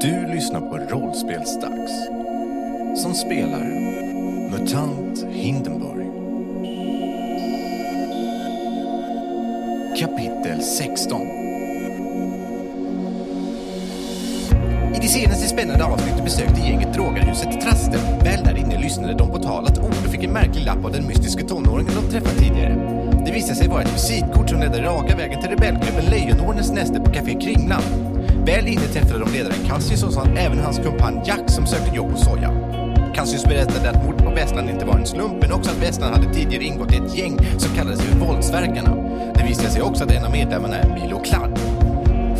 Du lyssnar på Rollspelsdags som spelar MUTANT Hindenburg. Kapitel 16 I det senaste spännande avsnittet besökte gänget drogarhuset Trasten. Väl där inne lyssnade de på talat ord och fick en märklig lapp av den mystiska tonåringen de träffat tidigare. Det visade sig vara ett visitkort som ledde raka vägen till rebellklubben Lejonordens näste på Café Kringlan. Väl inne träffade de ledaren Cassius och han även hans kumpan Jack som sökte jobb hos Soja. Cassius berättade att mordet på Vesslan inte var en slump men också att Vesslan hade tidigare ingått i ett gäng som kallades för Våldsverkarna. Det visade sig också att en av medlemmarna är Milo Kladd.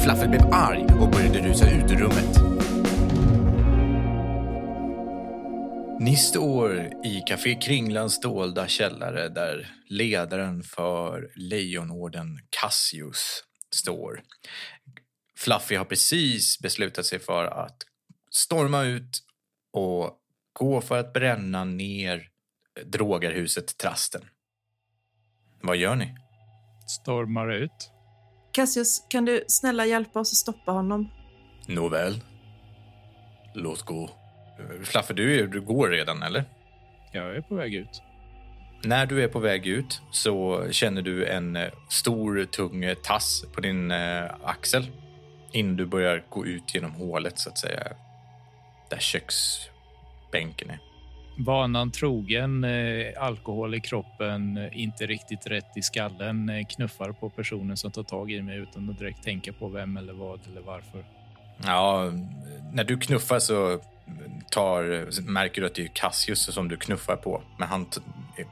Flaffel blev arg och började rusa ut ur rummet. Ni står i Café Kringlans dolda källare där ledaren för Lejonorden Cassius står. Fluffy har precis beslutat sig för att storma ut och gå för att bränna ner drogerhuset Trasten. Vad gör ni? stormar ut. Cassius, kan du snälla hjälpa oss att stoppa honom? Nåväl. Låt gå. Flaffe, du, är- du går redan, eller? Jag är på väg ut. När du är på väg ut så känner du en eh, stor, tung eh, tass på din eh, axel innan du börjar gå ut genom hålet, så att säga. Där köksbänken är. Vanan trogen, eh, alkohol i kroppen, eh, inte riktigt rätt i skallen, eh, knuffar på personen som tar tag i mig utan att direkt tänka på vem eller vad eller varför. Ja, när du knuffar så tar, så märker du att det är Cassius som du knuffar på. Men han t-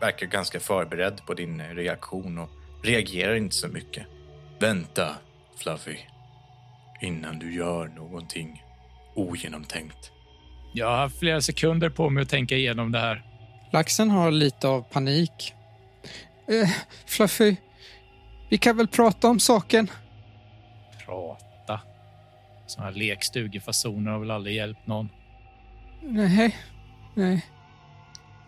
verkar ganska förberedd på din reaktion och reagerar inte så mycket. Vänta, Fluffy. Innan du gör någonting ogenomtänkt. Jag har haft flera sekunder på mig att tänka igenom det här. Laxen har lite av panik. Eh, Fluffy, vi kan väl prata om saken? Prata. Såna här lekstugefasoner har väl aldrig hjälpt någon. Nej, nej.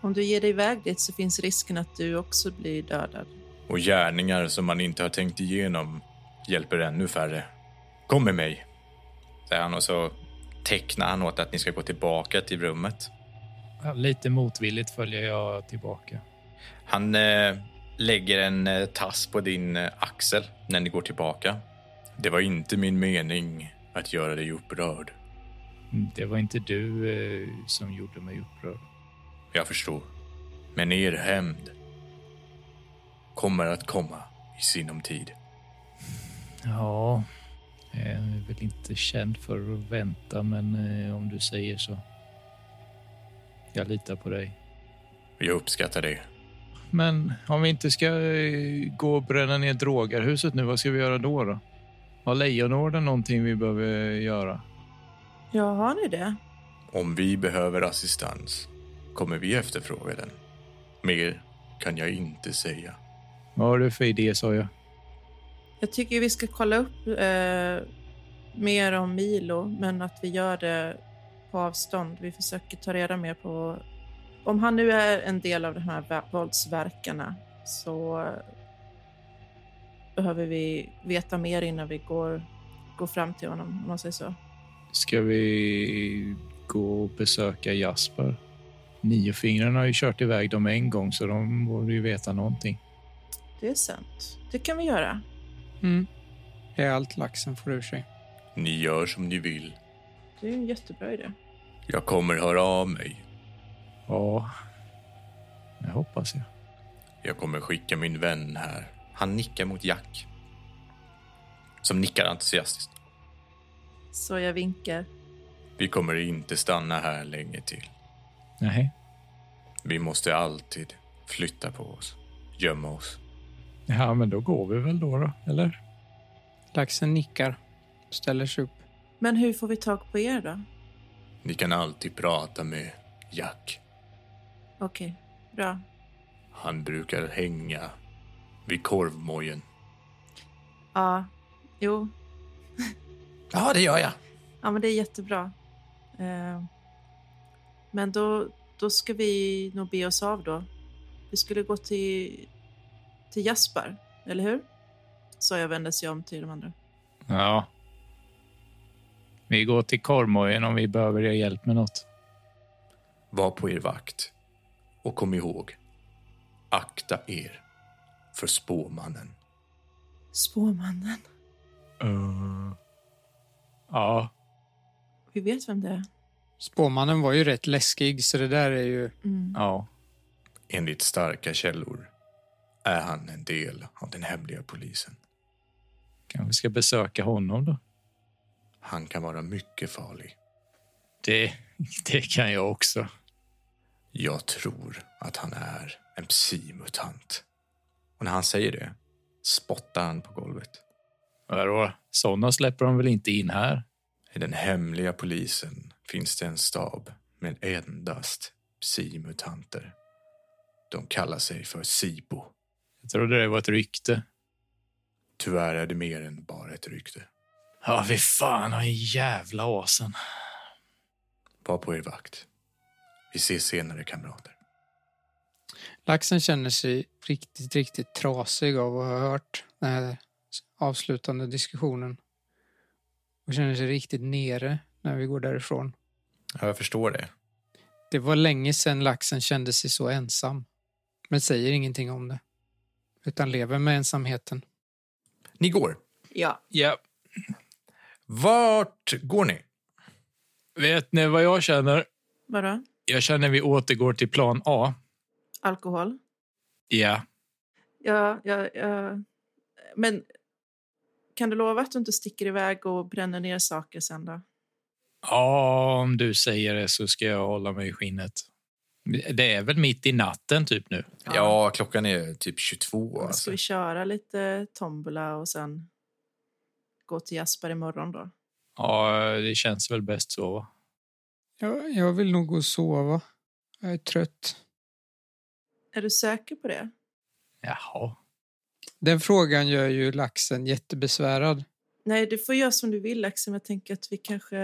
Om du ger dig iväg dit så finns risken att du också blir dödad. Och gärningar som man inte har tänkt igenom hjälper ännu färre. Kom med mig, säger han och så tecknar han åt att ni ska gå tillbaka till rummet. Ja, Lite motvilligt följer jag tillbaka. Han eh, lägger en eh, tass på din eh, axel när ni går tillbaka. Det var inte min mening att göra dig upprörd. Mm, Det var inte du eh, som gjorde mig upprörd. Jag förstår. Men er hämnd kommer att komma i sinom tid. Ja, jag är väl inte känd för att vänta, men eh, om du säger så. Jag litar på dig. Jag uppskattar det. Men om vi inte ska eh, gå och bränna ner drogarhuset nu, vad ska vi göra då? då? Har Lejonorden någonting vi behöver göra? Ja, har ni det? Om vi behöver assistans kommer vi efterfråga den. Mer kan jag inte säga. Vad har du för idé, sa jag? Jag tycker vi ska kolla upp eh, mer om Milo, men att vi gör det på avstånd. Vi försöker ta reda mer på... Om han nu är en del av de här vä- våldsverkarna så behöver vi veta mer innan vi går, går fram till honom, om man säger så. Ska vi gå och besöka Jasper? Niofingrarna har ju kört iväg dem en gång, så de borde ju veta någonting. Det är sant. Det kan vi göra. Mm. Det är allt laxen får ur sig. Ni gör som ni vill. Det är ju en jättebra idé. Jag kommer höra av mig. Ja, det hoppas jag. Jag kommer skicka min vän här. Han nickar mot Jack. Som nickar entusiastiskt. Så jag vinkar. Vi kommer inte stanna här länge till. Nej. Vi måste alltid flytta på oss. Gömma oss. Ja, men då går vi väl då, då eller? Laxen nickar, ställer sig upp. Men hur får vi tag på er då? Ni kan alltid prata med Jack. Okej, bra. Han brukar hänga vid korvmojen. Ja, jo, Ja, det gör jag. ja men det är jättebra. Eh, men då, då ska vi nog be oss av då. Vi skulle gå till, till Jasper, eller hur? Så jag vände sig om till de andra. Ja. Vi går till Kormojen om vi behöver er hjälp med något. Var på er vakt. Och kom ihåg, akta er för spåmannen. Spåmannen. Eh, Ja, Vi vet vem det är. Spåmannen var ju rätt läskig, så det där är ju... Mm. ja. Enligt starka källor är han en del av den hemliga polisen. Kanske ska besöka honom då. Han kan vara mycket farlig. Det, det kan jag också. Jag tror att han är en psimutant. Och när han säger det spottar han på golvet. Vadå? Sådana släpper de väl inte in här? I den hemliga polisen finns det en stab med endast psimutanter. De kallar sig för SIBO. Jag trodde det var ett rykte. Tyvärr är det mer än bara ett rykte. Ja, vi fan har en jävla asen. Var på er vakt. Vi ses senare, kamrater. Laxen känner sig riktigt, riktigt trasig av att ha hört den här avslutande diskussionen. Och känner sig riktigt nere när vi går därifrån. Ja, jag förstår det. Det var länge sedan laxen kände sig så ensam. Men säger ingenting om det. Utan lever med ensamheten. Ni går. Ja. Ja, Vart går ni? vet ni vad jag känner? Vadå? Jag känner vi återgår till plan A. Alkohol? Ja. Ja, ja, ja. Men kan du lova att du inte sticker iväg och bränner ner saker sen då? Ja, om du säger det så ska jag hålla mig i skinnet. Det är väl mitt i natten typ nu? Ja. Ja, klockan är typ 22. Då ska Alltså. vi köra lite tombola och sen gå till Jasper imorgon då? Ja, det känns väl bäst så. va? Jag, jag vill nog gå och sova. Jag är trött. Är du säker på det? Jaha. Den frågan gör ju laxen jättebesvärad. Nej, du får göra som du vill Axel, men jag tänker att vi kanske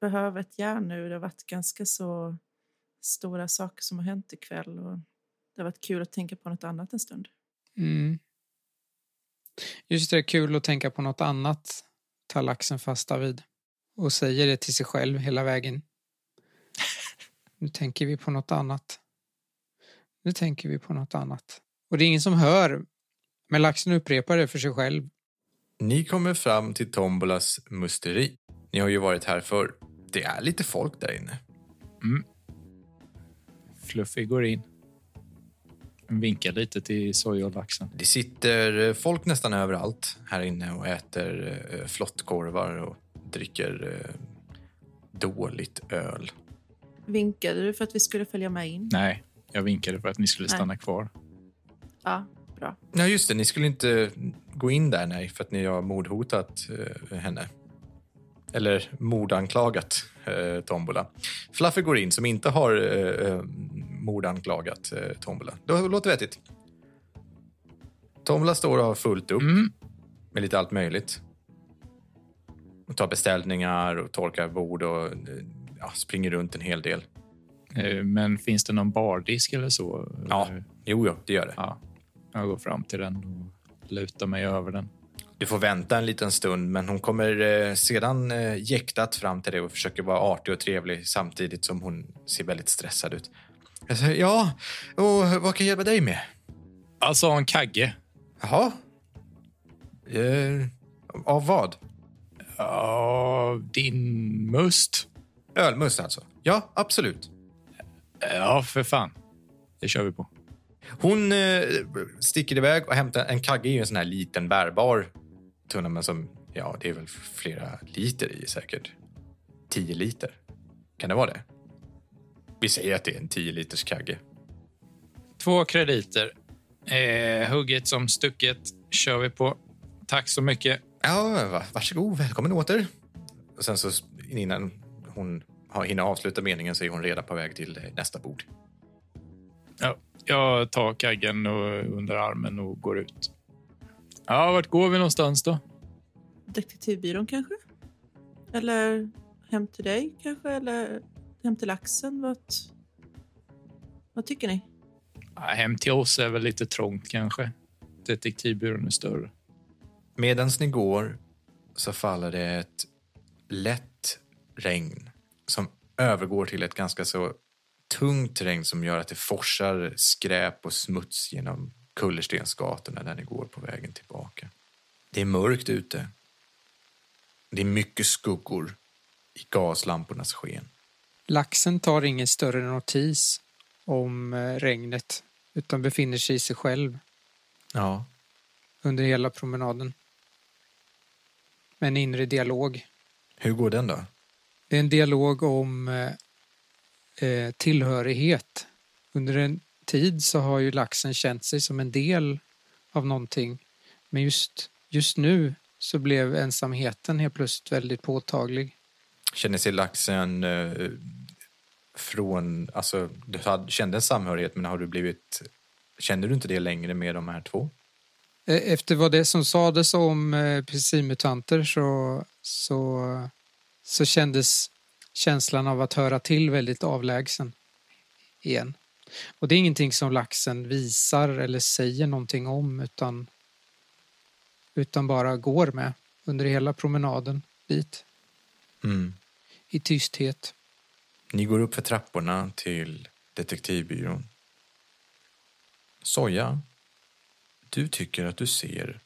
behöver ett järn nu. Det har varit ganska så stora saker som har hänt ikväll och det har varit kul att tänka på något annat en stund. Mm. Just det, kul att tänka på något annat tar laxen fasta vid och säger det till sig själv hela vägen. Nu tänker vi på något annat. Nu tänker vi på något annat. Och det är ingen som hör, men laxen upprepar det för sig själv. Ni kommer fram till Tombolas musteri. Ni har ju varit här förr. Det är lite folk där inne. Fluffy går in. Vinkar lite till soja och laxen. Det sitter eh, folk nästan överallt här inne och äter eh, flottkorvar och dricker eh, dåligt öl. Vinkade du för att vi skulle följa med in? Nej, jag vinkade för att ni skulle Nej. stanna kvar. Ja, bra. Ja, just det. Ni skulle inte gå in där, nej, för att ni har mordhotat eh, henne. Eller mordanklagat eh, Tombola. Fluffy går in, som inte har eh, eh, mordanklagat eh, Tombola. Det låter vettigt. Tombola står och har fullt upp Mm. med lite allt möjligt. Och tar beställningar och torkar bord och eh, ja, springer runt en hel del. Eh, Men finns det någon bardisk eller så? Ja, Eh, jo, jo, det gör det. ja. Jag går fram till den och lutar mig över den. Du får vänta en liten stund, men hon kommer eh, sedan eh, jäktat fram till dig och försöker vara artig och trevlig samtidigt som hon ser väldigt stressad ut. Jag säger, ja, och vad kan jag hjälpa dig med? Alltså en kagge. Jaha? Eh, av vad? Ja, din must. Ölmust alltså? Ja, absolut. Ja, för fan. Det kör vi på. Hon eh, sticker iväg och hämtar en kagge. är ju en sån här liten bärbar tunna, men som, ja, det är väl flera liter i säkert. 10 liter. Kan det vara det? Vi säger att det är en 10 liters kagge. Två krediter. Eh, hugget som stucket kör vi på. Tack så mycket. Ja, va- varsågod. Välkommen åter. Och sen så innan hon har- hinner avsluta meningen så är hon redan på väg till eh, nästa bord. Ja, jag tar kaggen och under armen och går ut. Ja, vart går vi någonstans då? Detektivbyrån kanske? Eller hem till dig kanske? Eller hem till laxen? Vad, vad tycker ni? Ja, hem till oss är väl lite trångt kanske. Detektivbyrån är större. Medan ni går så faller det ett lätt regn som övergår till ett ganska så tungt regn som gör att det forsar skräp och smuts genom kullerstensgatorna när ni går på vägen tillbaka. Det är mörkt ute. Det är mycket skuggor i gaslampornas sken. Laxen tar ingen större notis om eh, regnet utan befinner sig i sig själv Ja. under hela promenaden. Med en inre dialog. Hur går den då? Det är en dialog om eh, eh, tillhörighet. Under en tid så har ju laxen känt sig som en del av någonting. Men just, just nu så blev ensamheten helt plötsligt väldigt påtaglig. Känner sig laxen eh, från... Alltså, du hade, kände en samhörighet, men har du blivit... Känner du inte det längre med de här två? E- Efter vad det som sades om eh, PC-mutanter så, så, så kändes känslan av att höra till väldigt avlägsen igen. Och det är ingenting som laxen visar eller säger någonting om utan, utan bara går med under hela promenaden dit i tysthet. Ni går upp för trapporna till detektivbyrån. Soja, du tycker att du ser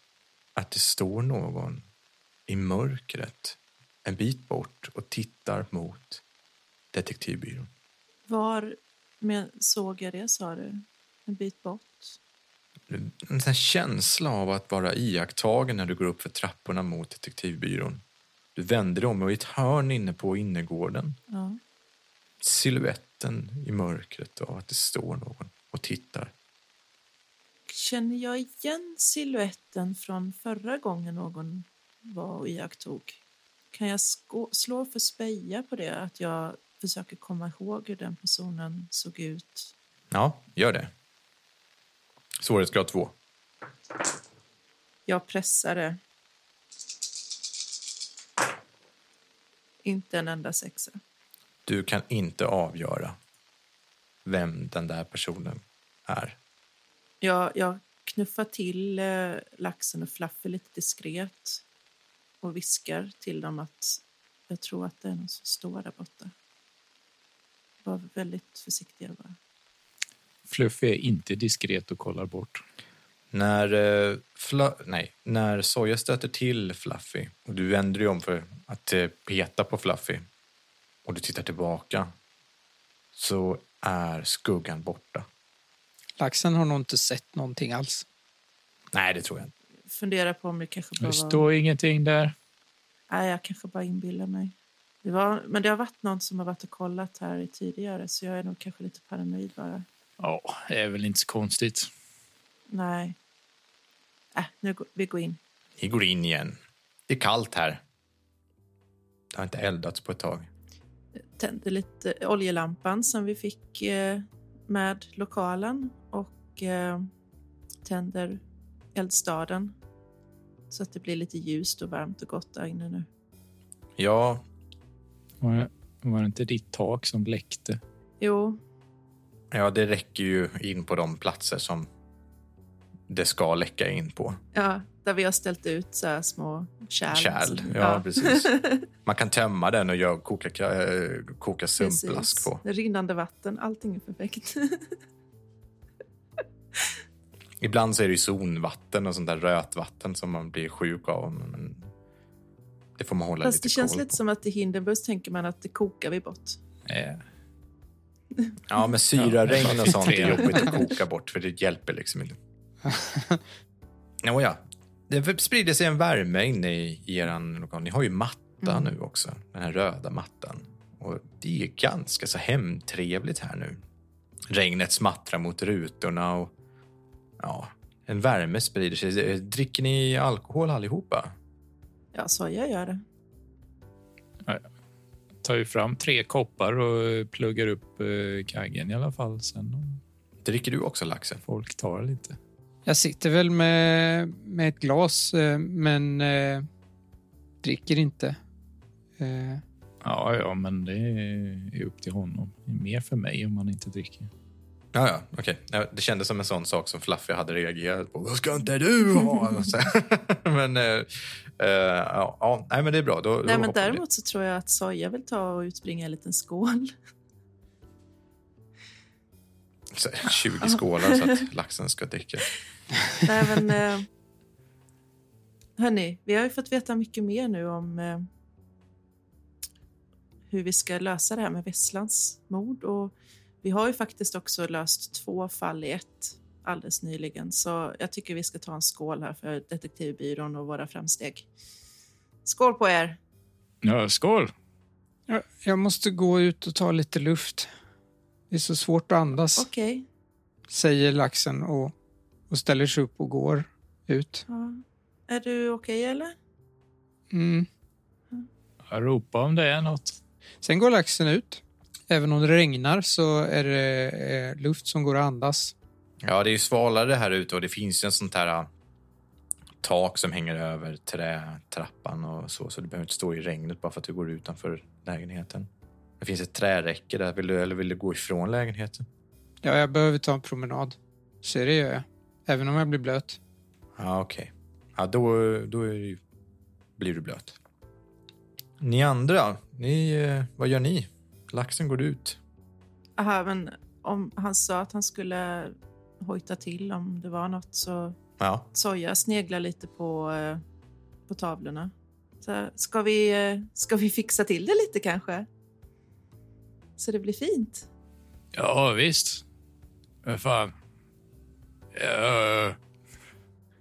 att det står någon i mörkret en bit bort och tittar mot detektivbyrån. Var men såg jag det, sa du? En bit bort? En sån här känsla av att vara iakttagen när du går upp för trapporna mot detektivbyrån. Du vänder dig om och i ett hörn inne på innergården Ja. siluetten i mörkret av att det står någon och tittar. Känner jag igen siluetten från förra gången någon var och iakttog? Kan jag skå- slå för speja på det, att jag försöker komma ihåg hur den personen såg ut? Ja, gör det. Svårighetsgrad 2. Jag pressade. Inte en enda sexa. Du kan inte avgöra vem den där personen är. Jag, jag knuffar till eh, laxen och flaffer lite diskret och viskar till dem att jag tror att det är någon som står där borta. Var väldigt försiktiga bara. Fluffy är inte diskret och kollar bort. När, eh, Fla- nej, när Soja stöter till Fluffy och du vänder dig om för att eh, peta på Fluffy och du tittar tillbaka så är skuggan borta. Laxen har nog inte sett någonting alls. Nej, det tror jag inte. Fundera på om det kanske bara Det var... står ingenting där. Nej, jag kanske bara inbillar mig. Det var, men det har varit någon som har varit och kollat här tidigare så jag är nog kanske lite paranoid bara. Ja, det är väl inte så konstigt. Nej. Äh, nu går, vi går in. Ni går in igen. Det är kallt här. Det har inte eldats på ett tag. tände lite oljelampan som vi fick eh, med lokalen och eh, tänder eldstaden så att det blir lite ljust och varmt och gott där inne nu. Ja, Var det, var det inte ditt tak som läckte? Jo, Ja, det räcker ju in på de platser som det ska läcka in på. ja, där vi har ställt ut så här små kärl. Kärl. Som- Ja, precis. Man kan tömma den och gör, koka, äh, koka sumpblask Precis. på. Rinnande vatten, allting är perfekt. Ibland så är det ju zonvatten och sånt där rötvatten som man blir sjuk av. Men det får man hålla Fast lite det känns koll lite på. som att i Hindenburg tänker man att det kokar vi bort. Eh, Ja, men syraregn och sånt är Ja. jobbigt att koka bort för det hjälper liksom inte. Nåja, det sprider sig en värme inne i, i er lokal. Ni har ju matta Mm. nu också, den här röda mattan. Och det är ganska så hemtrevligt här nu. Regnet smattrar mot rutorna och ja, en värme sprider sig. Dricker ni alkohol allihopa? Ja, soja gör det. tar ju fram tre koppar och eh, pluggar upp eh, kaggen i alla fall. Sen om Dricker du också laxen? folk tar lite. Jag sitter väl med, med ett glas eh, men eh, dricker inte. Eh, Ja, ja, men det är upp till honom. Det är mer för mig om man inte dricker. Ja, ja, okej. Ja, Det kändes som en sån sak som Fluffy hade reagerat på. Vad ska inte du ha? Så här. men, eh, eh, ja, ja, nej, men det är bra. Då, Nej, då men hoppar vi däremot så tror jag att Soja vill ta och utbringa en liten skål. det. Så här, 20 skålar så att laxen ska dricka. Nej, men... Eh, hörni, vi har ju fått veta mycket mer nu om eh, hur vi ska lösa det här med Vesslans mord. Och vi har ju faktiskt också löst två fall i ett alldeles nyligen. Så jag tycker vi ska ta en skål här för Detektivbyrån och våra framsteg. Skål på er! Ja, skål! Jag, jag måste gå ut och ta lite luft. Det är så svårt att andas, Okej. säger laxen och, och ställer sig upp och går ut. Ja. Är du okej, eller? Mm. Jag ropar om det är något. Sen går laxen ut. Även om det regnar så är det eh, luft som går att andas. Ja, det är ju svalare här ute och det finns ju en sånt här eh, tak som hänger över trätrappan och så, så du behöver inte stå i regnet bara för att du går utanför lägenheten. Det finns ett träräcke där. Vill du, eller vill du gå ifrån lägenheten? Ja, jag behöver ta en promenad. Så det gör jag. Även om jag blir blöt. Ja, okej. Ja, då, då är det ju, blir du blöt. Ni andra, ni, eh, vad gör ni? Laxen går ut. Aha, men om han sa att han skulle hojta till om det var något så Ja. Soja sneglar lite på, eh, på tavlorna. Så, här, ska, vi, eh, ska vi fixa till det lite kanske? Så det blir fint. Ja, visst. Men fan. Ja.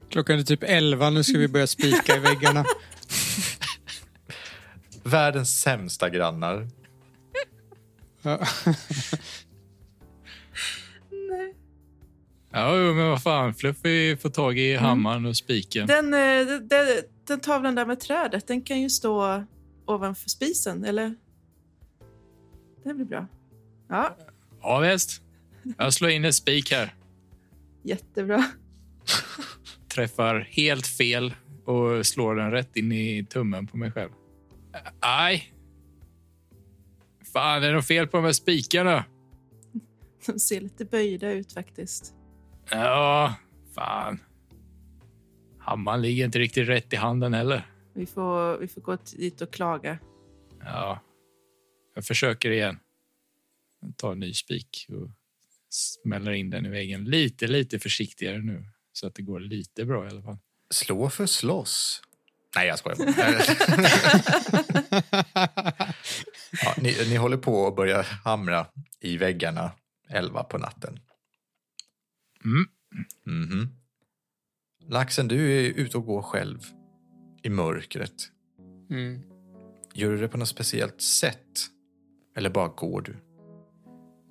Klockan är typ 11, nu ska vi börja spika i väggarna. Världens sämsta grannar. Ja. Nej. Ja, jo, men vad fan. Fluffy får tag i hammaren och spiken. Den, eh, den, den tavlan där med trädet, den kan ju stå ovanför spisen, eller? Det blir bra. Ja, Ja, visst. Jag slår in en spik här. jättebra. Träffar helt fel och slår den rätt in i tummen på mig själv. Aj! Fan, är det något fel på de här spikarna? De ser lite böjda ut faktiskt. Ja, fan. Hammaren ligger inte riktigt rätt i handen heller. Vi får, vi får gå dit och klaga. Ja. Jag försöker igen. Jag tar en ny spik och smäller in den i väggen. Lite, lite försiktigare nu. Så att det går lite bra i alla fall. Slå för slåss. Nej, jag skojar bara. ja, ni, ni håller på att börja hamra i väggarna elva på natten. Mm. Mhm. Laxen, du är ute och går själv i mörkret. Mm. Gör du det på något speciellt sätt? Eller bara går du?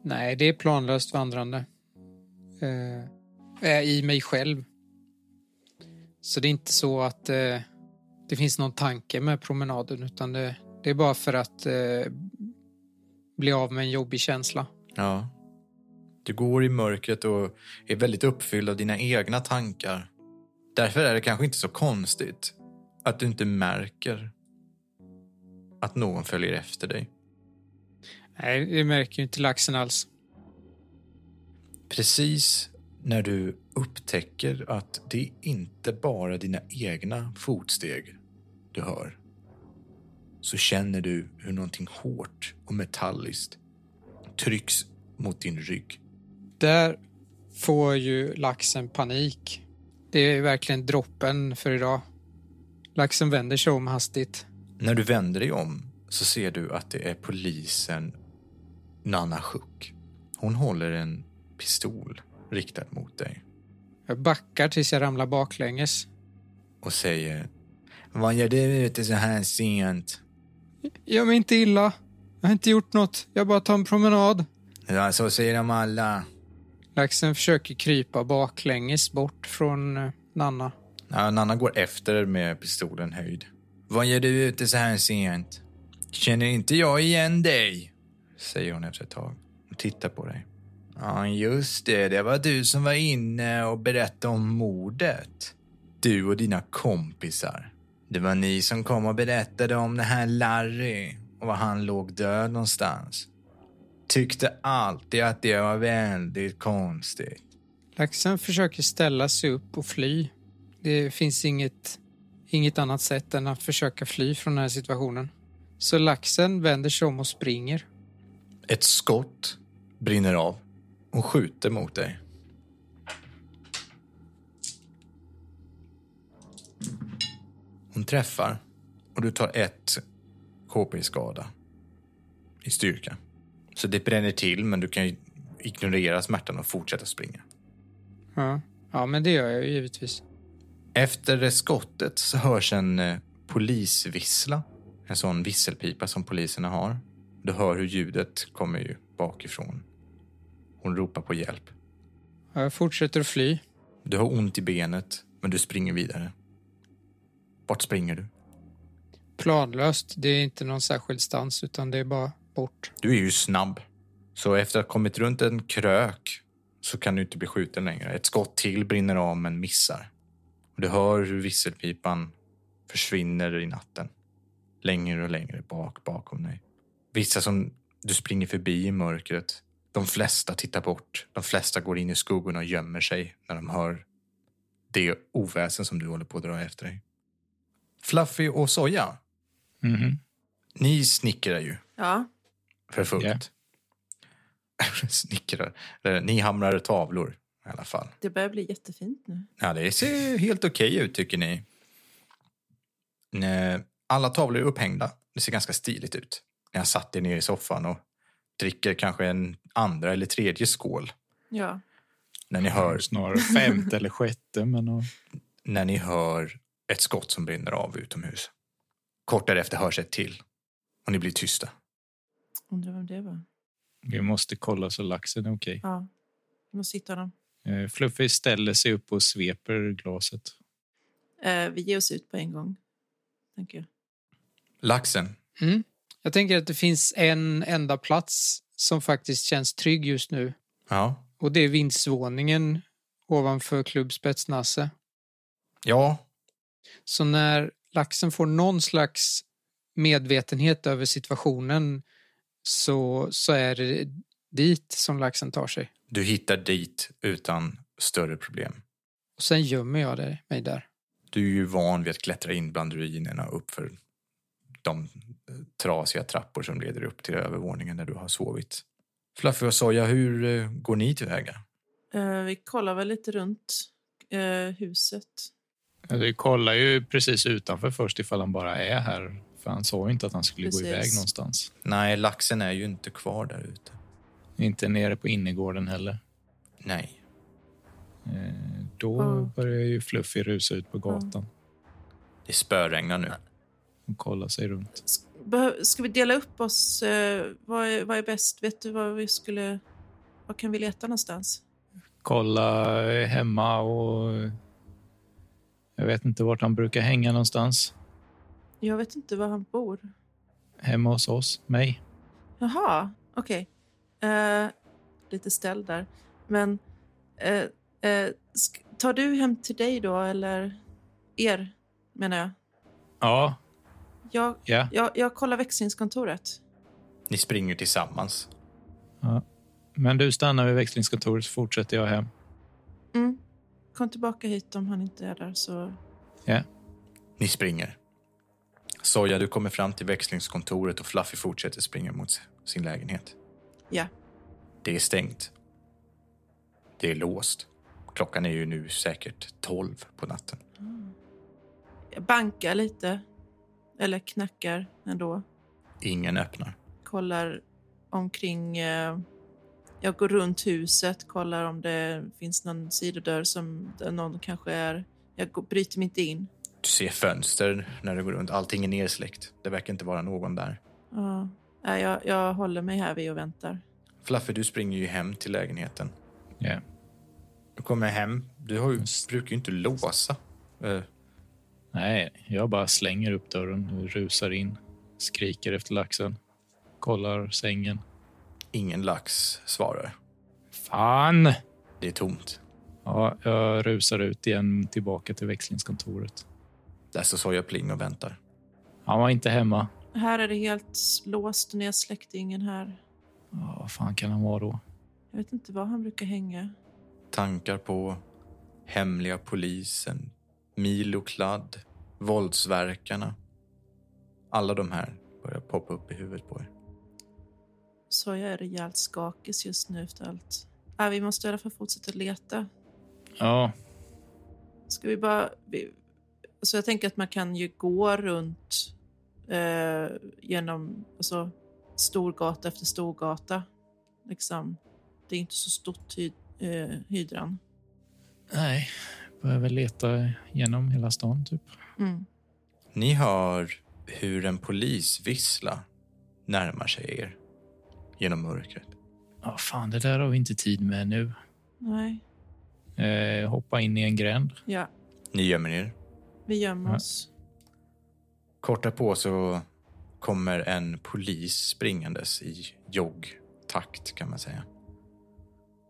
Nej, det är planlöst vandrande. Eh, jag är I mig själv. Så det är inte så att eh, det finns någon tanke med promenaden utan det, det är bara för att eh, bli av med en jobbig känsla. Ja. Du går i mörkret och är väldigt uppfylld av dina egna tankar. Därför är det kanske inte så konstigt att du inte märker att någon följer efter dig. Nej, det märker ju inte laxen alls. Precis när du upptäcker att det inte bara är dina egna fotsteg du hör så känner du hur någonting hårt och metalliskt trycks mot din rygg. Där får ju laxen panik. Det är verkligen droppen för idag. Laxen vänder sig om hastigt. När du vänder dig om så ser du att det är polisen Nana Sjuk. Hon håller en pistol riktad mot dig Jag backar tills jag ramlar baklänges. och säger Vad gör du ute så här sent? Gör mig inte illa. Jag har inte gjort något. Jag bara tar en promenad. Ja, så säger de alla. Laxen försöker krypa baklänges bort från eh, Nanna. Ja, Nanna går efter med pistolen höjd. Vad gör du ute så här sent? Känner inte jag igen dig? Säger hon efter ett tag. Hon tittar på dig. Ja, just det. Det var du som var inne och berättade om mordet. Du och dina kompisar. Det var ni som kom och berättade om den här Larry och var han låg död någonstans. tyckte alltid att det var väldigt konstigt. Laxen försöker ställa sig upp och fly. Det finns inget, inget annat sätt än att försöka fly från den här situationen. Så laxen vänder sig om och springer. Ett skott brinner av. Hon skjuter mot dig. Hon träffar och du tar ett KP-skada i styrka. Så det bränner till, men du kan ju ignorera smärtan och fortsätta springa. Ja, ja men det gör jag ju givetvis. Efter det skottet så hörs en eh, polisvissla. En sån visselpipa som poliserna har. Du hör hur ljudet kommer ju bakifrån. Hon ropar på hjälp. Ja, Jag fortsätter att fly. Du har ont i benet, men du springer vidare. Vart springer du? Planlöst. Det är inte någon särskild stans utan det är bara bort. Du är ju snabb. Så efter att ha kommit runt en krök så kan du inte bli skjuten längre. Ett skott till brinner av men missar. Och du hör hur visselpipan försvinner i natten. Längre och längre bak bakom dig. Vissa som du springer förbi i mörkret. De flesta tittar bort. De flesta går in i skuggorna och gömmer sig när de hör det oväsen som du håller på att dra efter dig. Fluffy och Soja, Mhm. ni snickrar ju. Ja, För fullt. Ja. Snickrar. Eh, Ni hamrar tavlor i alla fall. det börjar bli jättefint nu. Ja, det ser helt okej ut tycker ni. Eh, Alla tavlor är upphängda. Det ser ganska stiligt ut. Ni har satt er ner i soffan och dricker kanske en andra eller tredje skål. Ja, När ni hör, Snarare femte eller sjätte, men... ja. när ni hör ett skott som brinner av utomhus. Kort därefter hörs ett till. Och ni blir tysta. undrar vem det var. Vi måste kolla så laxen är okej. Ja, vi måste hitta dem. Eh, Fluffy ställer sig upp och sveper glaset. Eh, vi ger oss ut på en gång, tänker jag. Laxen, Mm. Jag tänker att det finns en enda plats som faktiskt känns trygg just nu. ja, Och det är vindsvåningen ovanför klubbspets Nasse. ja, Så när laxen får någon slags medvetenhet över situationen så, så är det dit som laxen tar sig. du hittar dit utan större problem. Och sen gömmer jag det- mig där. Du är ju van vid att klättra in bland ruinerna uppför de eh, trasiga trappor som leder upp till övervåningen där du har sovit. Fluffy och Soja, hur eh, går ni tillväga? Eh, vi kollar väl lite runt eh, huset. Ja, Vi kollar ju precis utanför först ifall han bara är här. För han sa ju inte att han skulle Precis. gå iväg någonstans. Nej, laxen är ju inte kvar där ute. Inte nere på innergården heller. Nej. Eh, Då Ja. börjar ju Fluffy rusa ut på gatan Det spöregnar nu. och kolla sig runt. S- behö- Ska vi dela upp oss? Eh, vad, är, vad är bäst? Vet du vad vi skulle... Vad kan vi leta någonstans? Kolla eh, hemma och... eh, Jag vet inte vart han brukar hänga någonstans. Jag vet inte var han bor. Hemma hos oss, mig. Jaha, okej. Eh, lite ställd där. Men eh, eh, sk- tar du hem till dig då, eller er, menar jag? Ja, Jag, ja. jag, jag kollar växlingskontoret. Ni springer tillsammans. Men du stannar vid växlingskontoret så fortsätter jag hem. Mm. Kom tillbaka hit om han inte är där. Så... Ni springer. Soja, du kommer fram till växlingskontoret och Fluffy fortsätter springa mot sin lägenhet. Ja. Det är stängt. Det är låst. Klockan är ju nu säkert tolv på natten. Jag bankar lite, eller knackar ändå. Ingen öppnar. kollar omkring. Eh, jag går runt huset, kollar om det finns någon sidodörr som där någon kanske är. Jag går, bryter mig inte in. Du ser fönster när du går runt. Allting är nersläckt. Det verkar inte vara någon där. Ja, nej, jag, jag håller mig här vid och väntar. Fluffy, du springer ju hem till lägenheten. Ja. Du kommer hem. Du har ju, brukar ju inte låsa. Eh, Nej, jag bara slänger upp dörren, rusar in, skriker efter laxen, kollar sängen. ingen lax svarar. Fan! Det är tomt. Ja, jag rusar ut igen tillbaka till växlingskontoret. Där står Soja Pling och väntar. Han var inte hemma. Här är det helt låst och nedsläckt, ingen här. Ja, vad fan kan han vara då? Jag vet inte var han brukar hänga. Tankar på hemliga polisen, Milo Kladd, våldsverkarna. Alla de här börjar poppa upp i huvudet på er. Så jag är rejält skakig just nu efter allt. Nej, vi måste i alla fall fortsätta leta. Ja, Ska vi bara... Vi, alltså jag tänker att man kan ju gå runt eh, genom alltså, storgata efter storgata. Liksom. Det är inte så stort hy, eh, hydran. nej. Börjar väl leta genom hela stan typ. Mm. Ni hör hur en polisvissla närmar sig er genom mörkret. Ja, fan, det där har vi inte tid med nu. Nej. Eh, hoppa in i en gränd. Ja, Ni gömmer er. vi gömmer Ja. oss. Kort därpå så kommer en polis springandes i joggtakt kan man säga.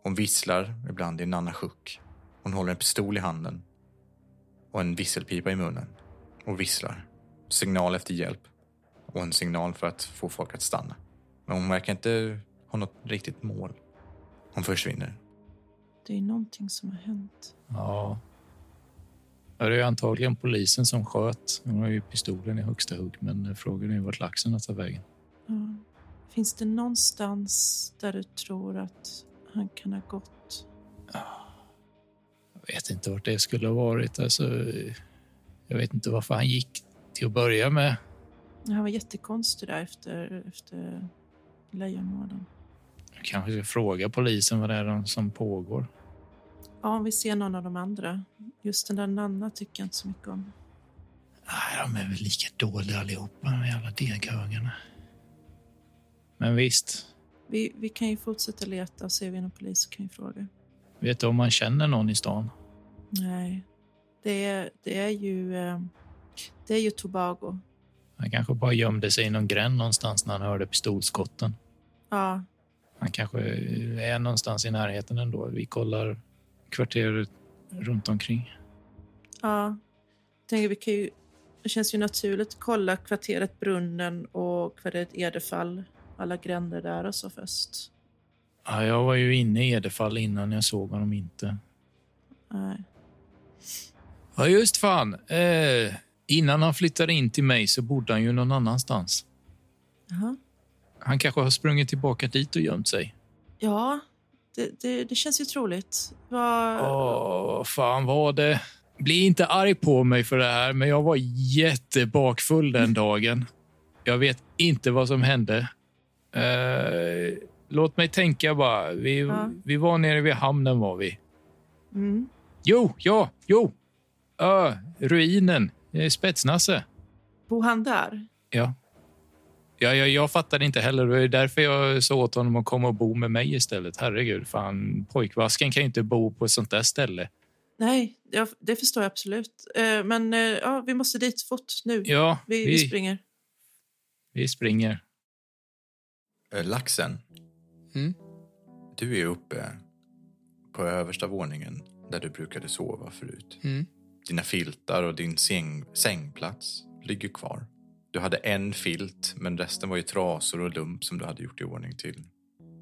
Hon visslar ibland i en annan sjuk. Hon håller en pistol i handen och en visselpipa i munnen och visslar. Signal efter hjälp och en signal för att få folk att stanna. Men hon verkar inte ha något riktigt mål. Hon försvinner. Det är någonting som har hänt. Ja. Ja, Det är ju antagligen polisen som sköt. Hon har ju pistolen i högsta hugg, men frågan är ju vart laxen har tagit vägen. Ja. Finns det någonstans där du tror att han kan ha gått? Jag vet inte vart det skulle ha varit. Alltså, eh, jag vet inte varför han gick till att börja med. Han var jättekonstig där efter, efter lejonmorden. Jag kanske ska fråga polisen vad det är som pågår. Ja, om vi ser någon av de andra. Just den där Nanna tycker jag inte så mycket om. Nej, de är väl lika dåliga allihopa, de jävla deghögarna. Men visst, Vi, vi kan ju fortsätta leta och se vi någon polis så kan vi fråga. vet du om man känner någon i stan? Nej, det är, det är ju... eh, Det är ju Tobago. Han kanske bara gömde sig i någon gränd någonstans när han hörde pistolskotten. Ja, Han kanske är någonstans i närheten ändå. Vi kollar kvarteret runt omkring. ja. Jag tänker vi kan ju... Det känns ju naturligt att kolla kvarteret Brunnen och kvarteret Edefall. Alla gränder där och så först. Ja, jag var ju inne i Edefall innan jag såg honom inte. Nej. Ja, just fan. Eh, innan han flyttade in till mig så bodde han ju någon annanstans. Jaha. Han kanske har sprungit tillbaka dit och gömt sig. Ja, det, det, det känns ju troligt. Vad... Åh, vad fan var det? Bli inte arg på mig för det här, men jag var jättebakfull Mm. den dagen. Jag vet inte vad som hände. Eh, låt mig tänka bara. Vi, Ja. vi var nere vid hamnen, var vi. Mm. Jo, ja, jo! Ö, ruinen. Eh, Spetsnasse. Bor han där? Ja. Ja, jag, jag fattade inte heller. Det är därför jag sa åt honom att komma och bo med mig istället. Herregud, fan. Pojkvasken kan ju inte bo på ett sånt där ställe. Nej, jag, det förstår jag absolut. Eh, Men eh, ja, vi måste dit fort nu. Ja, vi, vi springer. Vi springer. Eh, Laxen, Mm. du är uppe på översta våningen där du brukade sova förut. Mm. Dina filtar och din säng, sängplats ligger kvar. Du hade en filt, men resten var ju trasor och lump som du hade gjort i ordning till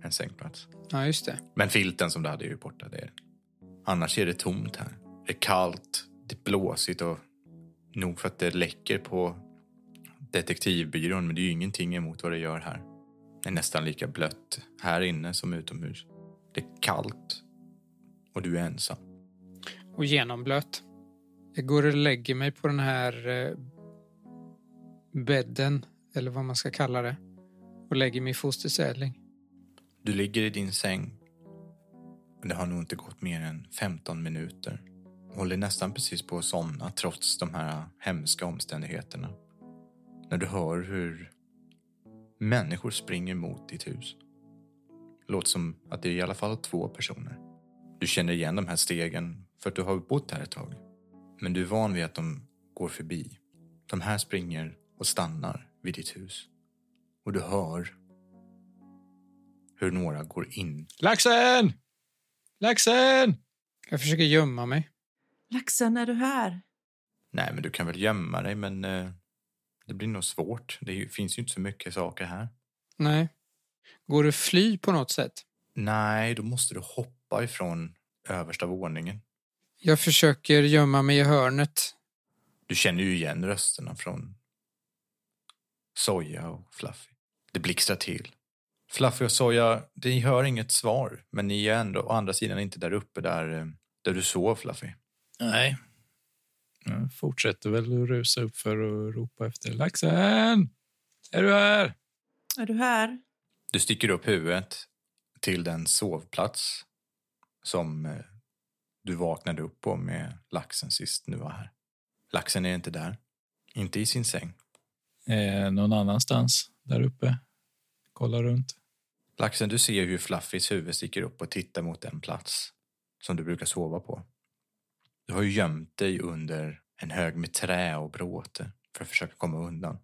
en sängplats. Ja, just det. Men filten som du hade är ju borta. Det är. Annars är det tomt här. Det är kallt, det är blåsigt och nog för att det läcker på detektivbyrån, men det är ju ingenting emot vad det gör här. Det är nästan lika blött här inne som utomhus. Det är kallt och du är ensam. Och genomblöt. Jag går och lägger mig på den här eh, bädden, eller vad man ska kalla det. Och lägger mig i fosterställning. Du ligger i din säng. Det har nog inte gått mer än 15 minuter. Håller nästan precis på att somna trots de här hemska omständigheterna. När du hör hur människor springer mot ditt hus. Låter som att det är i alla fall två personer. Du känner igen de här stegen för att du har bott här ett tag. Men du är van vid att de går förbi. De här springer och stannar vid ditt hus. Och du hör hur några går in Laxen! Laxen! Jag försöker gömma mig. Laxen, är du här? Nej, men du kan väl gömma dig, men eh, det blir nog svårt. Det är ju- finns ju inte så mycket saker här. Nej. Går det att fly på något sätt? Nej, då måste du hoppa ifrån översta våningen. Jag försöker gömma mig i hörnet. Du känner ju igen rösterna från Soja och Fluffy. Det blixtrar till. Fluffy och Soja, ni hör inget svar, men ni är ändå å andra sidan inte där uppe där, eh, där du sov, Fluffy. Nej. Jag fortsätter väl att rusa upp för att ropa efter laxen. Är du här? Är du här? Du sticker upp huvudet till den sovplats som eh, du vaknade upp på med laxen sist du var här. Laxen är inte där. Inte i sin säng. Eh, någon annanstans där uppe. Kolla runt. Laxen, du ser hur Fluffys huvud sticker upp och tittar mot den plats som du brukar sova på. Du har ju gömt dig under en hög med trä och bråte för att försöka komma undan.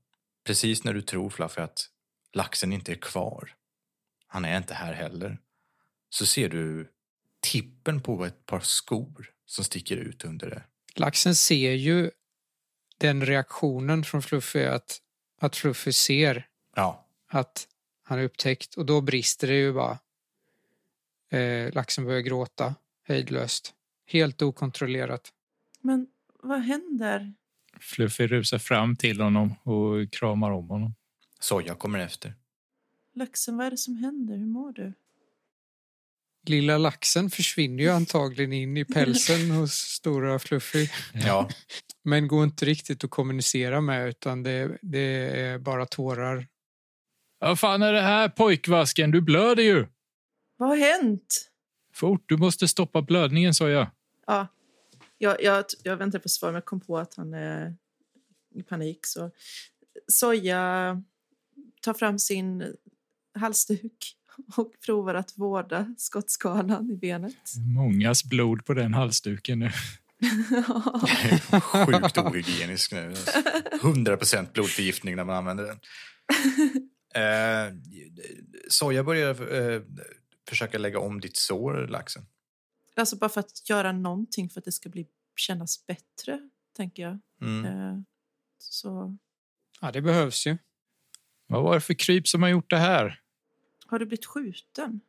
Precis när du tror, Fluffy, att laxen inte är kvar, han är inte här heller, så ser du tippen på ett par skor som sticker ut under det. Laxen ser ju den reaktionen från Fluffy att, att Fluffy ser Ja, att han är upptäckt och då brister det ju bara. Eh, laxen börjar gråta hejdlöst. Helt okontrollerat. Men vad händer? Fluffy rusar fram till honom och kramar om honom. Soja kommer efter. Laxen, vad är det som händer? Hur mår du? Lilla laxen försvinner ju antagligen in i pälsen hos stora Fluffy. Ja, Men går inte riktigt att kommunicera med utan det, det är bara tårar. Vad fan är det här pojkvasken? Du blöder ju! Vad har hänt? Fort, du måste stoppa blödningen sa jag. Ja, jag, jag, jag väntar på svar, men jag kom på att han är i panik. Så. Soja tar fram sin halsduk och provar att vårda skottskadan i benet. Mångas blod på den halsduken nu. Sjukt ohygienisk nu. 100% blodförgiftning när man använder den. Eh, soja börjar eh, försöka lägga om ditt sår, laxen. alltså bara för att göra någonting för att det ska bli, kännas bättre, tänker jag. Mm. Eh, Så Ja, det behövs ju. Vad var det för kryp som har gjort det här? har du blivit skjuten?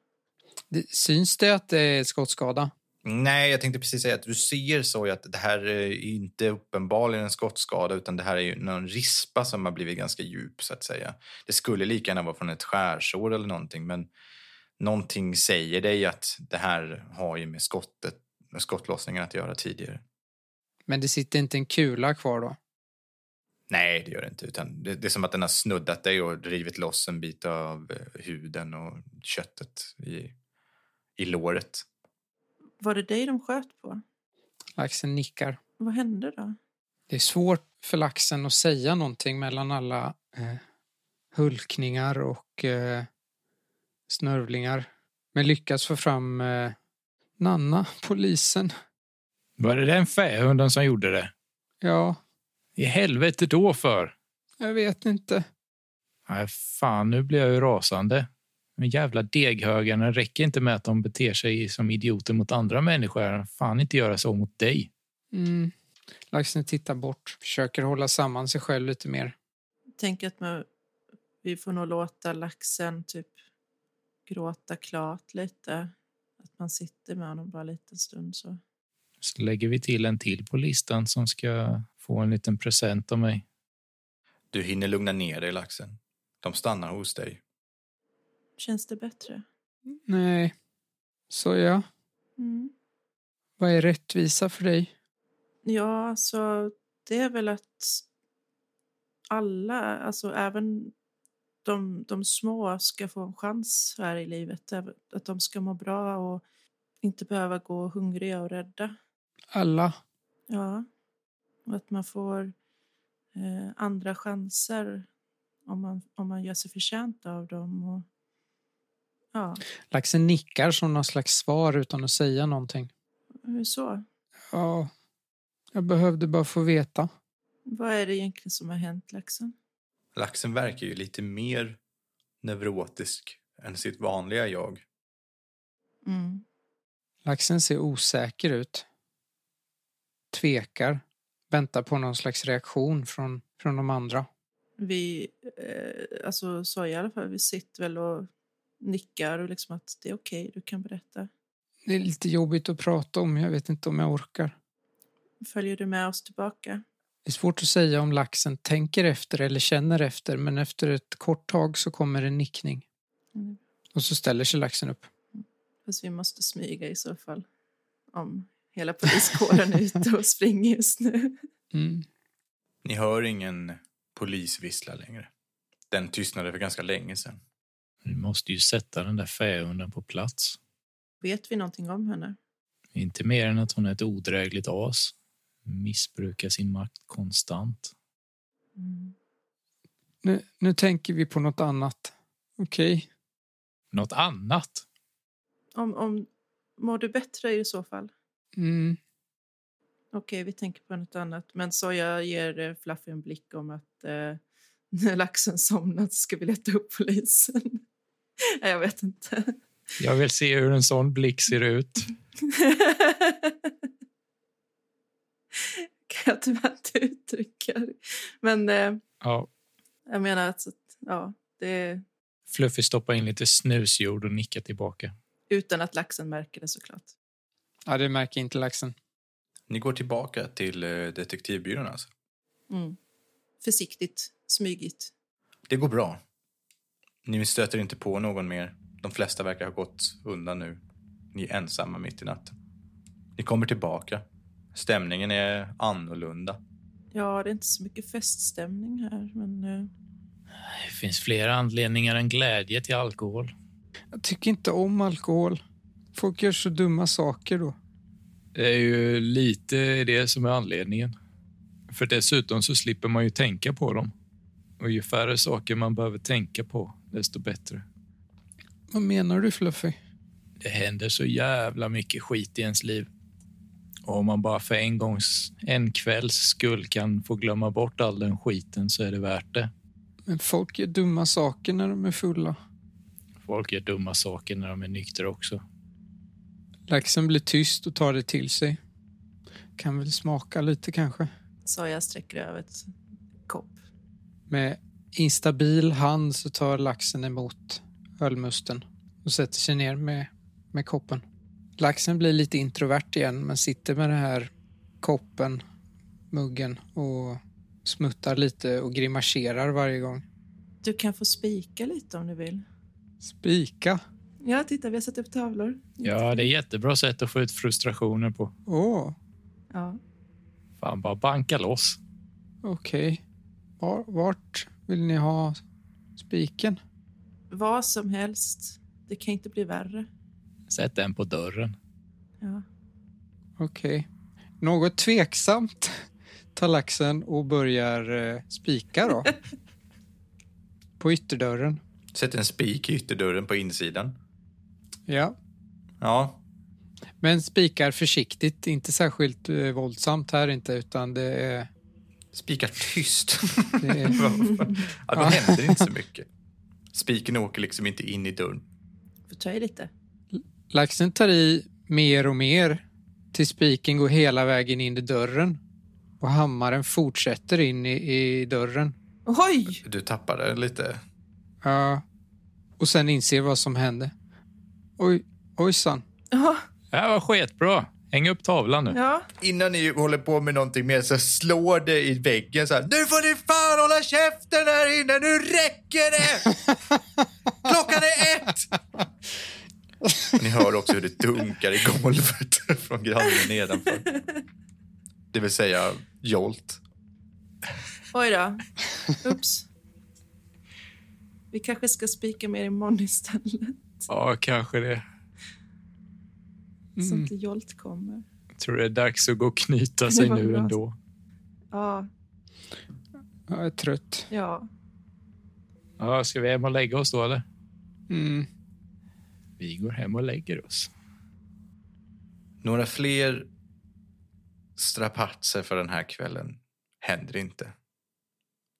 Det, syns det att det är skottskada? Nej, jag tänkte precis säga att du ser Soja att det här är inte uppenbarligen en skottskada utan det här är ju någon rispa som har blivit ganska djup så att säga. Det skulle lika gärna vara från ett skärsår eller någonting men någonting säger dig att det här har ju med skottet, med skottlossningen att göra tidigare. Men det sitter inte en kula kvar då? Nej, det gör det inte. Utan det, det är som att den har snuddat dig och rivit loss en bit av eh, huden och köttet i, i låret. Var det dig de sköt på? Laxen nickar. Vad hände då? Det är svårt för laxen att säga någonting mellan alla eh, hulkningar och eh, snörvlingar. Men lyckas få fram eh, Nanna, polisen. Var det den fähunden som gjorde det? Ja, I helvete då för? jag vet inte. Nej, fan, nu blir jag ju rasande. Men jävla deghögarna, det räcker inte med att de beter sig som idioter mot andra människor. Fan inte göra så mot dig. Mm. Laxen tittar bort, försöker hålla samman sig själv lite mer. Tänker att man, vi får nog låta laxen typ gråta klart lite. Att man sitter med honom bara en liten stund. Så. Så lägger vi till en till på listan som ska få en liten present av mig. Du hinner lugna ner dig, laxen. De stannar hos dig. Känns det bättre? Nej. Så ja, Mm. vad är rättvisa för dig? Ja, så det är väl att alla, alltså även de, de små ska få en chans här i livet. Även- Att de ska må bra och inte behöva gå hungriga och rädda. Alla. Ja. Och att man får eh, andra chanser om man, om man gör sig förtjänt av dem. Och, ja, Laxen nickar som någon slags svar utan att säga någonting. hur så? Ja, jag behövde bara få veta. Vad är det egentligen som har hänt, laxen? Laxen verkar ju lite mer neurotisk än sitt vanliga jag. Mm. Laxen ser osäker ut. Tvekar. Väntar på någon slags reaktion från, från de andra. Vi, eh, alltså sa jag i alla fall, vi sitter väl och nickar och liksom att det är okej, du kan berätta. Det är lite jobbigt att prata om. Jag vet inte om jag orkar. Följer du med oss tillbaka? Det är svårt att säga om laxen tänker efter eller känner efter men efter ett kort tag så kommer en nickning. Mm. Och så ställer sig laxen upp. Fast vi måste smyga i så fall. Om hela poliskåren är ute och springer just nu. Mm. Ni hör ingen polisvissla längre. Den tystnade för ganska länge sedan. Vi måste ju sätta den där fähunden på plats. Vet vi någonting om henne? Inte mer än att hon är ett odrägligt as. Missbrukar sin makt konstant. Mm. Nu, nu tänker vi på något annat. Okej. Något annat? Om, om, mår du bättre i så fall? Mm. Okej, vi tänker på något annat. Men så jag ger eh, Fluffy en blick om att eh, när laxen somnat ska vi leta upp polisen. Nej, jag vet inte. Jag vill se hur en sån blick ser ut. kan jag tyvärr inte uttrycka. det. Men eh, Ja, jag menar att, så att ja, det är Fluffy stoppar in lite snusjord och nickar tillbaka. utan att laxen märker det såklart. Ja, det märker inte laxen. Ni går tillbaka till eh, detektivbyrån alltså. Mm. Försiktigt, smygigt. Det går bra. Ni stöter inte på någon mer. De flesta verkar ha gått undan nu. Ni är ensamma mitt i natten. Ni kommer tillbaka. Stämningen är annorlunda. Ja, det är inte så mycket feststämning här, men eh, Det finns flera anledningar än glädje till alkohol. Jag tycker inte om alkohol. Folk gör så dumma saker då. Det är ju lite det som är anledningen. För dessutom så slipper man ju tänka på dem. Och ju färre saker man behöver tänka på, desto bättre. Vad menar du Fluffy? Det händer så jävla mycket skit i ens liv. Och om man bara för en gångs, en kvälls skull kan få glömma bort all den skiten så är det värt det. Men folk gör dumma saker när de är fulla. Folk gör dumma saker när de är nyktra också. Laxen blir tyst och tar det till sig. Kan väl smaka lite kanske. sa jag sträcker över ett kopp. Med instabil hand så tar laxen emot ölmusten och sätter sig ner med, med koppen. Laxen blir lite introvert igen men sitter med den här koppen, muggen och smuttar lite och grimaserar varje gång. Du kan få spika lite om du vill. Spika? Ja, titta, vi har satt upp tavlor. Ja, det är jättebra sätt att få ut frustrationer på. Åh, Ja. Fan, bara banka loss. okej. Var, vart vill ni ha spiken? Vad som helst. Det kan inte bli värre. Sätt den på dörren. Ja. Okej. Något tveksamt tar laxen och börjar eh, spika då. På ytterdörren. Sätter en spik i ytterdörren på insidan. Ja. Ja, Men spikar försiktigt, inte särskilt eh, våldsamt här inte utan det är... spikar tyst. Det är ja, då händer det inte så mycket. Spiken åker liksom inte in i dörren. Får ta i lite. laxen tar i mer och mer tills spiken går hela vägen in i dörren. Och hammaren fortsätter in i, i dörren. Oj! Du tappade lite. Ja. Och sen inser vad som hände. Oj, ojsan. Ja, Det här var skitbra. Häng upp tavlan nu. ja. Innan ni håller på med någonting mer så slår det i väggen så här. Nu får ni fan hålla käften här inne, nu räcker det! Klockan är ett! Och ni hör också hur det dunkar i golvet från grannen nedanför. Det vill säga Jolt. Oj då. Ups. Vi kanske ska spika mer imorgon istället. Ja, kanske det. Mm. Så inte Jolt kommer. Jag tror det är dags att gå och knyta sig Det var nu bra. ändå. Ja, Jag är trött. ja. Ja, ska vi hem och lägga oss då, eller? Mm. Vi går hem och lägger oss. Några fler strapatser för den här kvällen händer inte.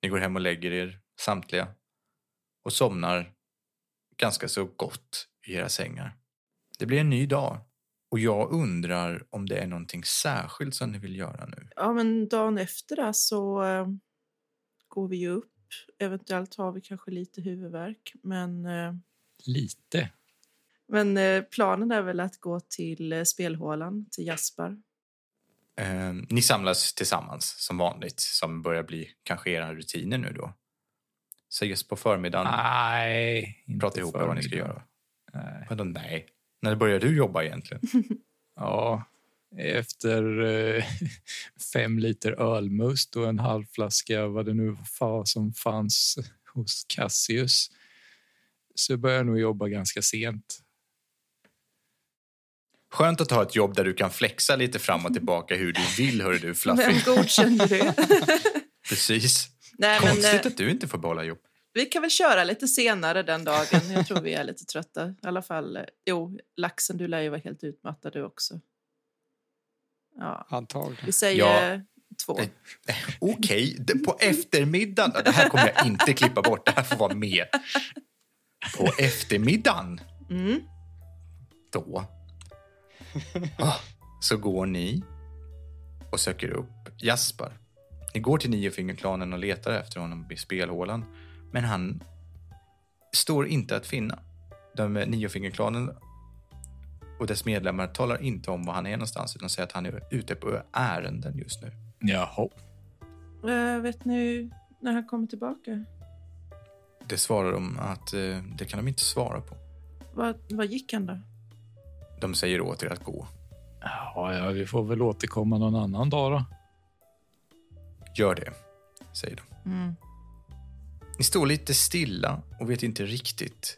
Ni går hem och lägger er, samtliga, och somnar ganska så gott i era sängar. Det blir en ny dag och jag undrar om det är någonting särskilt som ni vill göra nu. Ja, men dagen efter det så eh, går vi ju upp. Eventuellt har vi kanske lite huvudvärk, men eh, Lite. Men eh, planen är väl att gå till eh, spelhålan, till Jasper. Eh, ni samlas tillsammans som vanligt, som börjar bli kanske era rutiner nu då. Ses på förmiddagen, Nej. inte prata ihop er vad ni ska Ah, förmiddag. göra. Nej. Vadå nej? När börjar du jobba egentligen? Ja, efter eh, fem liter ölmust och en halv flaska vad det nu var som fanns hos Cassius så började jag nog jobba ganska sent. Skönt att ha ett jobb där du kan flexa lite fram och tillbaka hur du vill, hör du Fluffy. Vem godkände det? Precis. Nej, men, Konstigt eh, att du inte får behålla jobb. vi kan väl köra lite senare den dagen. Jag tror vi är lite trötta. I alla fall, eh, jo, laxen, du lär ju vara helt utmattad du också. Ja, Antagligen. vi säger Ja. eh, två. Nej. Okej, det- på eftermiddagen. Det här kommer jag inte klippa bort. Det här får vara med. På eftermiddagen, Mm. då, ah, så går ni och söker upp Jasper. Ni går till Niofingerklanen och letar efter honom i spelhålan, men han står inte att finna. De Niofingerklanen och dess medlemmar talar inte om var han är någonstans utan säger att han är ute på ärenden just nu. Jaha. Eh, vet ni när han kommer tillbaka? Det svarar de att eh, det kan de inte svara på. Vad, vad gick han då? De säger åt er att gå. Ja, ja, vi får väl återkomma någon annan dag då. Gör det, säger de. Mm. Ni står lite stilla och vet inte riktigt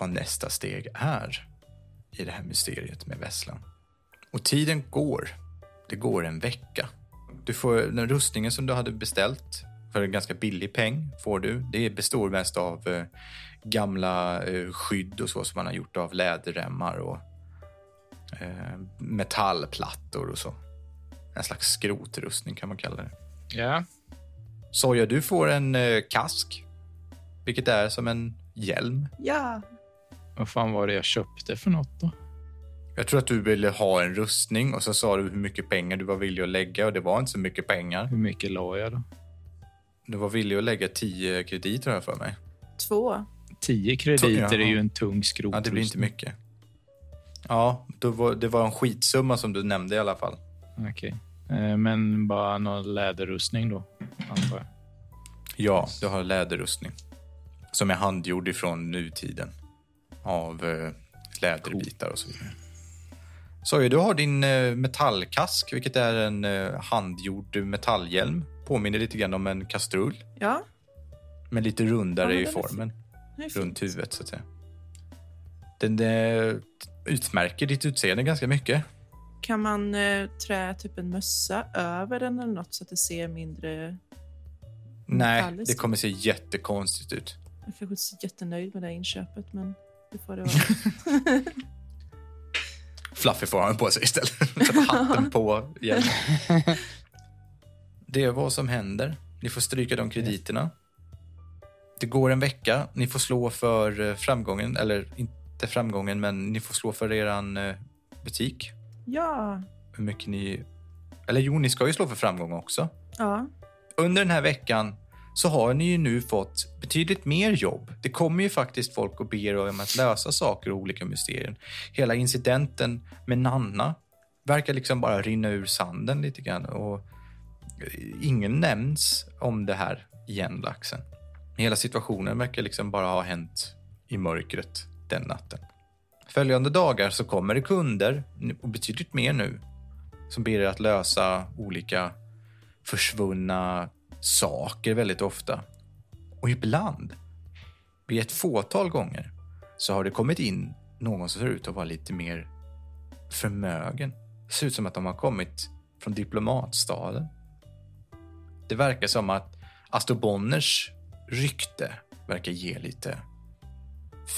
vad nästa steg är i det här mysteriet med Vesslan. Och tiden går. Det går en vecka. Du får den rustningen som du hade beställt för en ganska billig peng får du. Det består mest av eh, gamla eh, skydd och så som man har gjort av läderremmar och eh, metallplattor och så. En slags skrotrustning kan man kalla det. Ja. Soja, du får en eh, kask. Vilket är som en hjälm. Ja, Vad fan var det jag köpte för något då? Jag tror att du ville ha en rustning och så sa du hur mycket pengar du var villig att lägga och det var inte så mycket pengar. Hur mycket la jag då? Du var villig att lägga 10 krediter har jag för mig. två. Tio krediter Jaha. är ju en tung skrot. Ja, det blir inte mycket. Ja, då var, det var en skitsumma som du nämnde i alla fall. Okej. Eh, Men bara någon läderrustning då, antar jag. Ja, du har läderrustning. Som är handgjord ifrån nutiden. Av eh, läderbitar och så vidare. Soja, du har din eh, metallkask, vilket är en eh, handgjord metallhjälm. Påminner lite grann om en kastrull, Ja, men lite rundare Ja, men i den är formen. det är fint. Runt huvudet, så att säga. Den eh, utmärker ditt utseende ganska mycket. Kan man eh, trä typ en mössa över den eller något så att det ser mindre... Nej, Metalliskt. det kommer se jättekonstigt ut. Jag kanske inte är så jättenöjd med det här inköpet, men det får det vara. Fluffy får han på sig istället. Sätter hatten på igen. Det är vad som händer. Ni får stryka de krediterna. Det går en vecka. Ni får slå för eh, framgången, eller inte framgången, men ni får slå för eran eh, butik. ja, Hur mycket ni... Eller jo, ni ska ju slå för framgång också. ja, Under den här veckan så har ni ju nu fått betydligt mer jobb. Det kommer ju faktiskt folk och ber om att lösa saker och olika mysterier. Hela incidenten med Nanna verkar liksom bara rinna ur sanden lite grann och ingen nämns om det här igen, laxen. Hela situationen verkar liksom bara ha hänt i mörkret den natten. Följande dagar så kommer det kunder, och betydligt mer nu, som ber er att lösa olika försvunna saker väldigt ofta. Och ibland, vid ett fåtal gånger, så har det kommit in någon som ser ut att vara lite mer förmögen. Det ser ut som att de har kommit från diplomatstaden. Det verkar som att Astor Bonners rykte verkar ge lite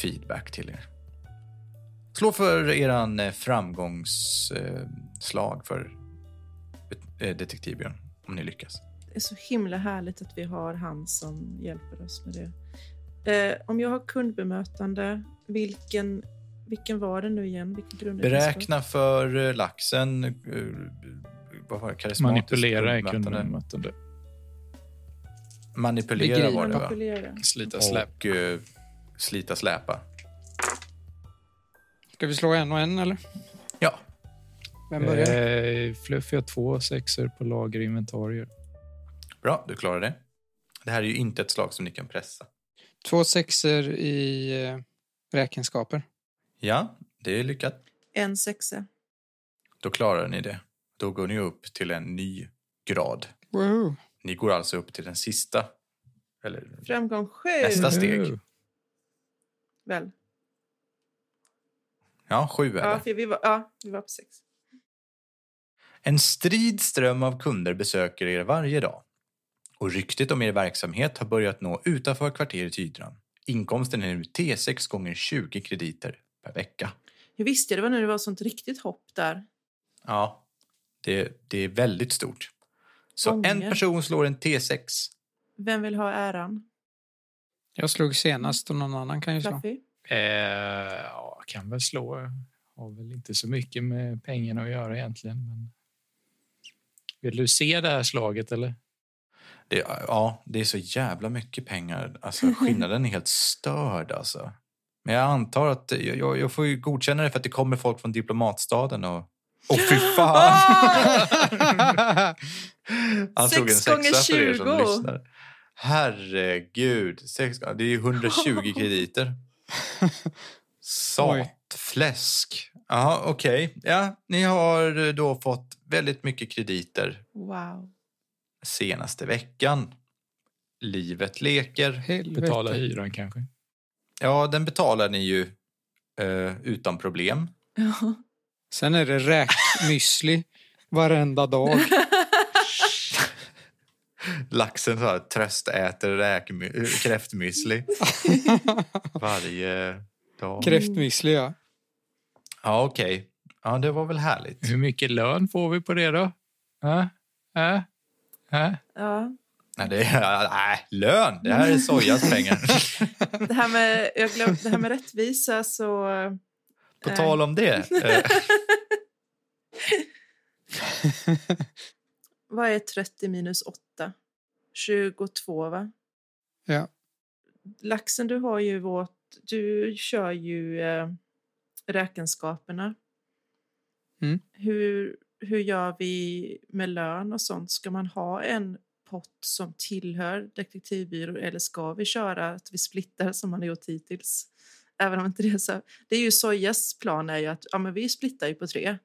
feedback till er. Slå för eran eh, framgångsslag för eh, detektivbyrån om ni lyckas. det är så himla härligt att vi har han som hjälper oss med det. Eh, om jag har kundbemötande, vilken, vilken var det nu igen? Vilken grund Beräkna för eh, laxen eh, vad var det, karismatiskt Manipulera är bemötande. kundbemötande. Manipulera Begrip. var det va? Manipulera. Slita släp. Och eh, slita släpa. Ska vi slå en och en eller? Ja. Vem börjar? Eh, Fluff, jag har två sexer på lager inventarier. Bra, du klarar det. Det här är ju inte ett slag som ni kan pressa. Två sexer i eh, räkenskaper. Ja, det är lyckat. En sexa. Då klarar ni det. Då går ni upp till en ny grad. Woohoo. Ni går alltså upp till den sista. Eller, Framgång sju. Nästa. steg. Woohoo. Väl? ja, sju är det. Ja, för vi var, ja, vi var på sex. En strid ström av kunder besöker er varje dag. Och ryktet om er verksamhet har börjat nå utanför kvarteret Hydran. Inkomsten är nu T6 gånger 20 krediter per vecka. Jag visste det var när det var sånt riktigt hopp där. Ja, det, det är väldigt stort. Så en Gånger. person slår en T6. Vem vill ha äran? Jag slog senast och någon annan kan ju slå. Fluffy? Eh, ja, kan väl slå. Har väl inte så mycket med pengarna att göra egentligen. Men... Vill du se det här slaget eller? Det, ja, det är så jävla mycket pengar. Mhm. Alltså, skillnaden är helt störd. Alltså. Men jag antar att jag, jag, jag får ju godkänna det för att det kommer folk från diplomatstaden. Och, och fy fan! Han Ah! Sex slog en gånger sexa för er som 20. lyssnar. Herregud. Sex, det är ju 120 krediter. Oj. Satfläsk. Ja, okej. Ja, ni har då fått väldigt mycket krediter Wow. senaste veckan. Livet leker. Helvete. Betala hyran kanske? Ja, den betalar ni ju eh, utan problem. Ja. Sen är det räkmüsli varenda dag. Laxen så här, tröstäter räkmy- eh, kräftmüsli varje dag. Kräftmüsli, ja. Ja, okej. Ja, det var väl härligt. Hur mycket lön får vi på det då? Äh? Äh? Äh? ja. Nej, det är, nej, lön! Det här är sojas pengar. Det, här med, jag glömde, det här med rättvisa så... eh, På tal om det. eh, Vad är 30 minus 8? 22, va? Ja. Laxen, du har ju vårt... Du kör ju eh, räkenskaperna. Mm. Hur, hur gör vi med lön och sånt? Ska man ha en pott som tillhör detektivbyrå eller ska vi köra att vi splittar som man har gjort hittills? Även om inte det är så... Det är ju Sojas plan är ju att ja, men vi splittar ju på tre.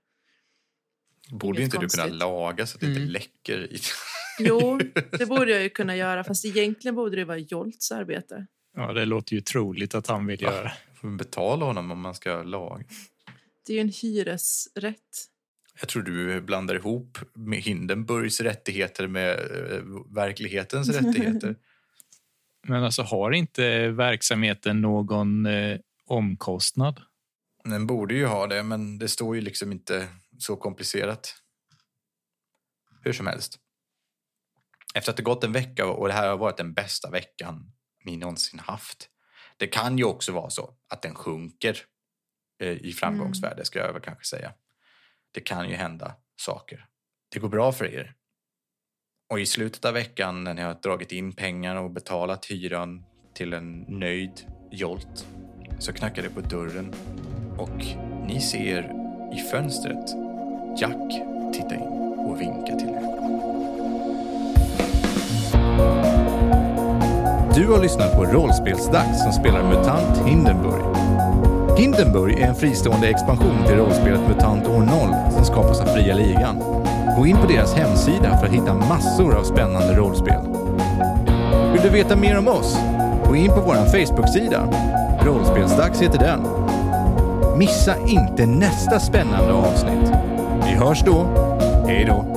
Borde Inget inte du kunna konstigt. laga så att det inte Mm. läcker i... Jo, det borde jag ju kunna göra fast egentligen borde det vara Jolts arbete. Ja, det låter ju troligt att han vill Ja. göra. Får man betala honom om man ska laga? Det är ju en hyresrätt. Jag tror du blandar ihop med Hindenburgs rättigheter med eh, verklighetens rättigheter. Men alltså, har inte verksamheten någon eh, omkostnad? Den borde ju ha det, men det står ju liksom inte så komplicerat. Hur som helst. Efter att det gått en vecka och det här har varit den bästa veckan ni någonsin haft. Det kan ju också vara så att den sjunker eh, i framgångsvärde, ska jag väl kanske säga. Det kan ju hända saker. Det går bra för er. Och i slutet av veckan när ni har dragit in pengar och betalat hyran till en nöjd Jolt så knackar det på dörren och ni ser i fönstret Jack titta in och vinka till er. Du har lyssnat på Rollspelsdags som spelar MUTANT Hindenburg. Hindenburg är en fristående expansion till rollspelet MUTANT år 0 som skapas av Fria Ligan. Gå in på deras hemsida för att hitta massor av spännande rollspel. Vill du veta mer om oss? Gå in på vår Facebook-sida. Rollspelsdags heter den. Missa inte nästa spännande avsnitt. Vi hörs då. Hej då.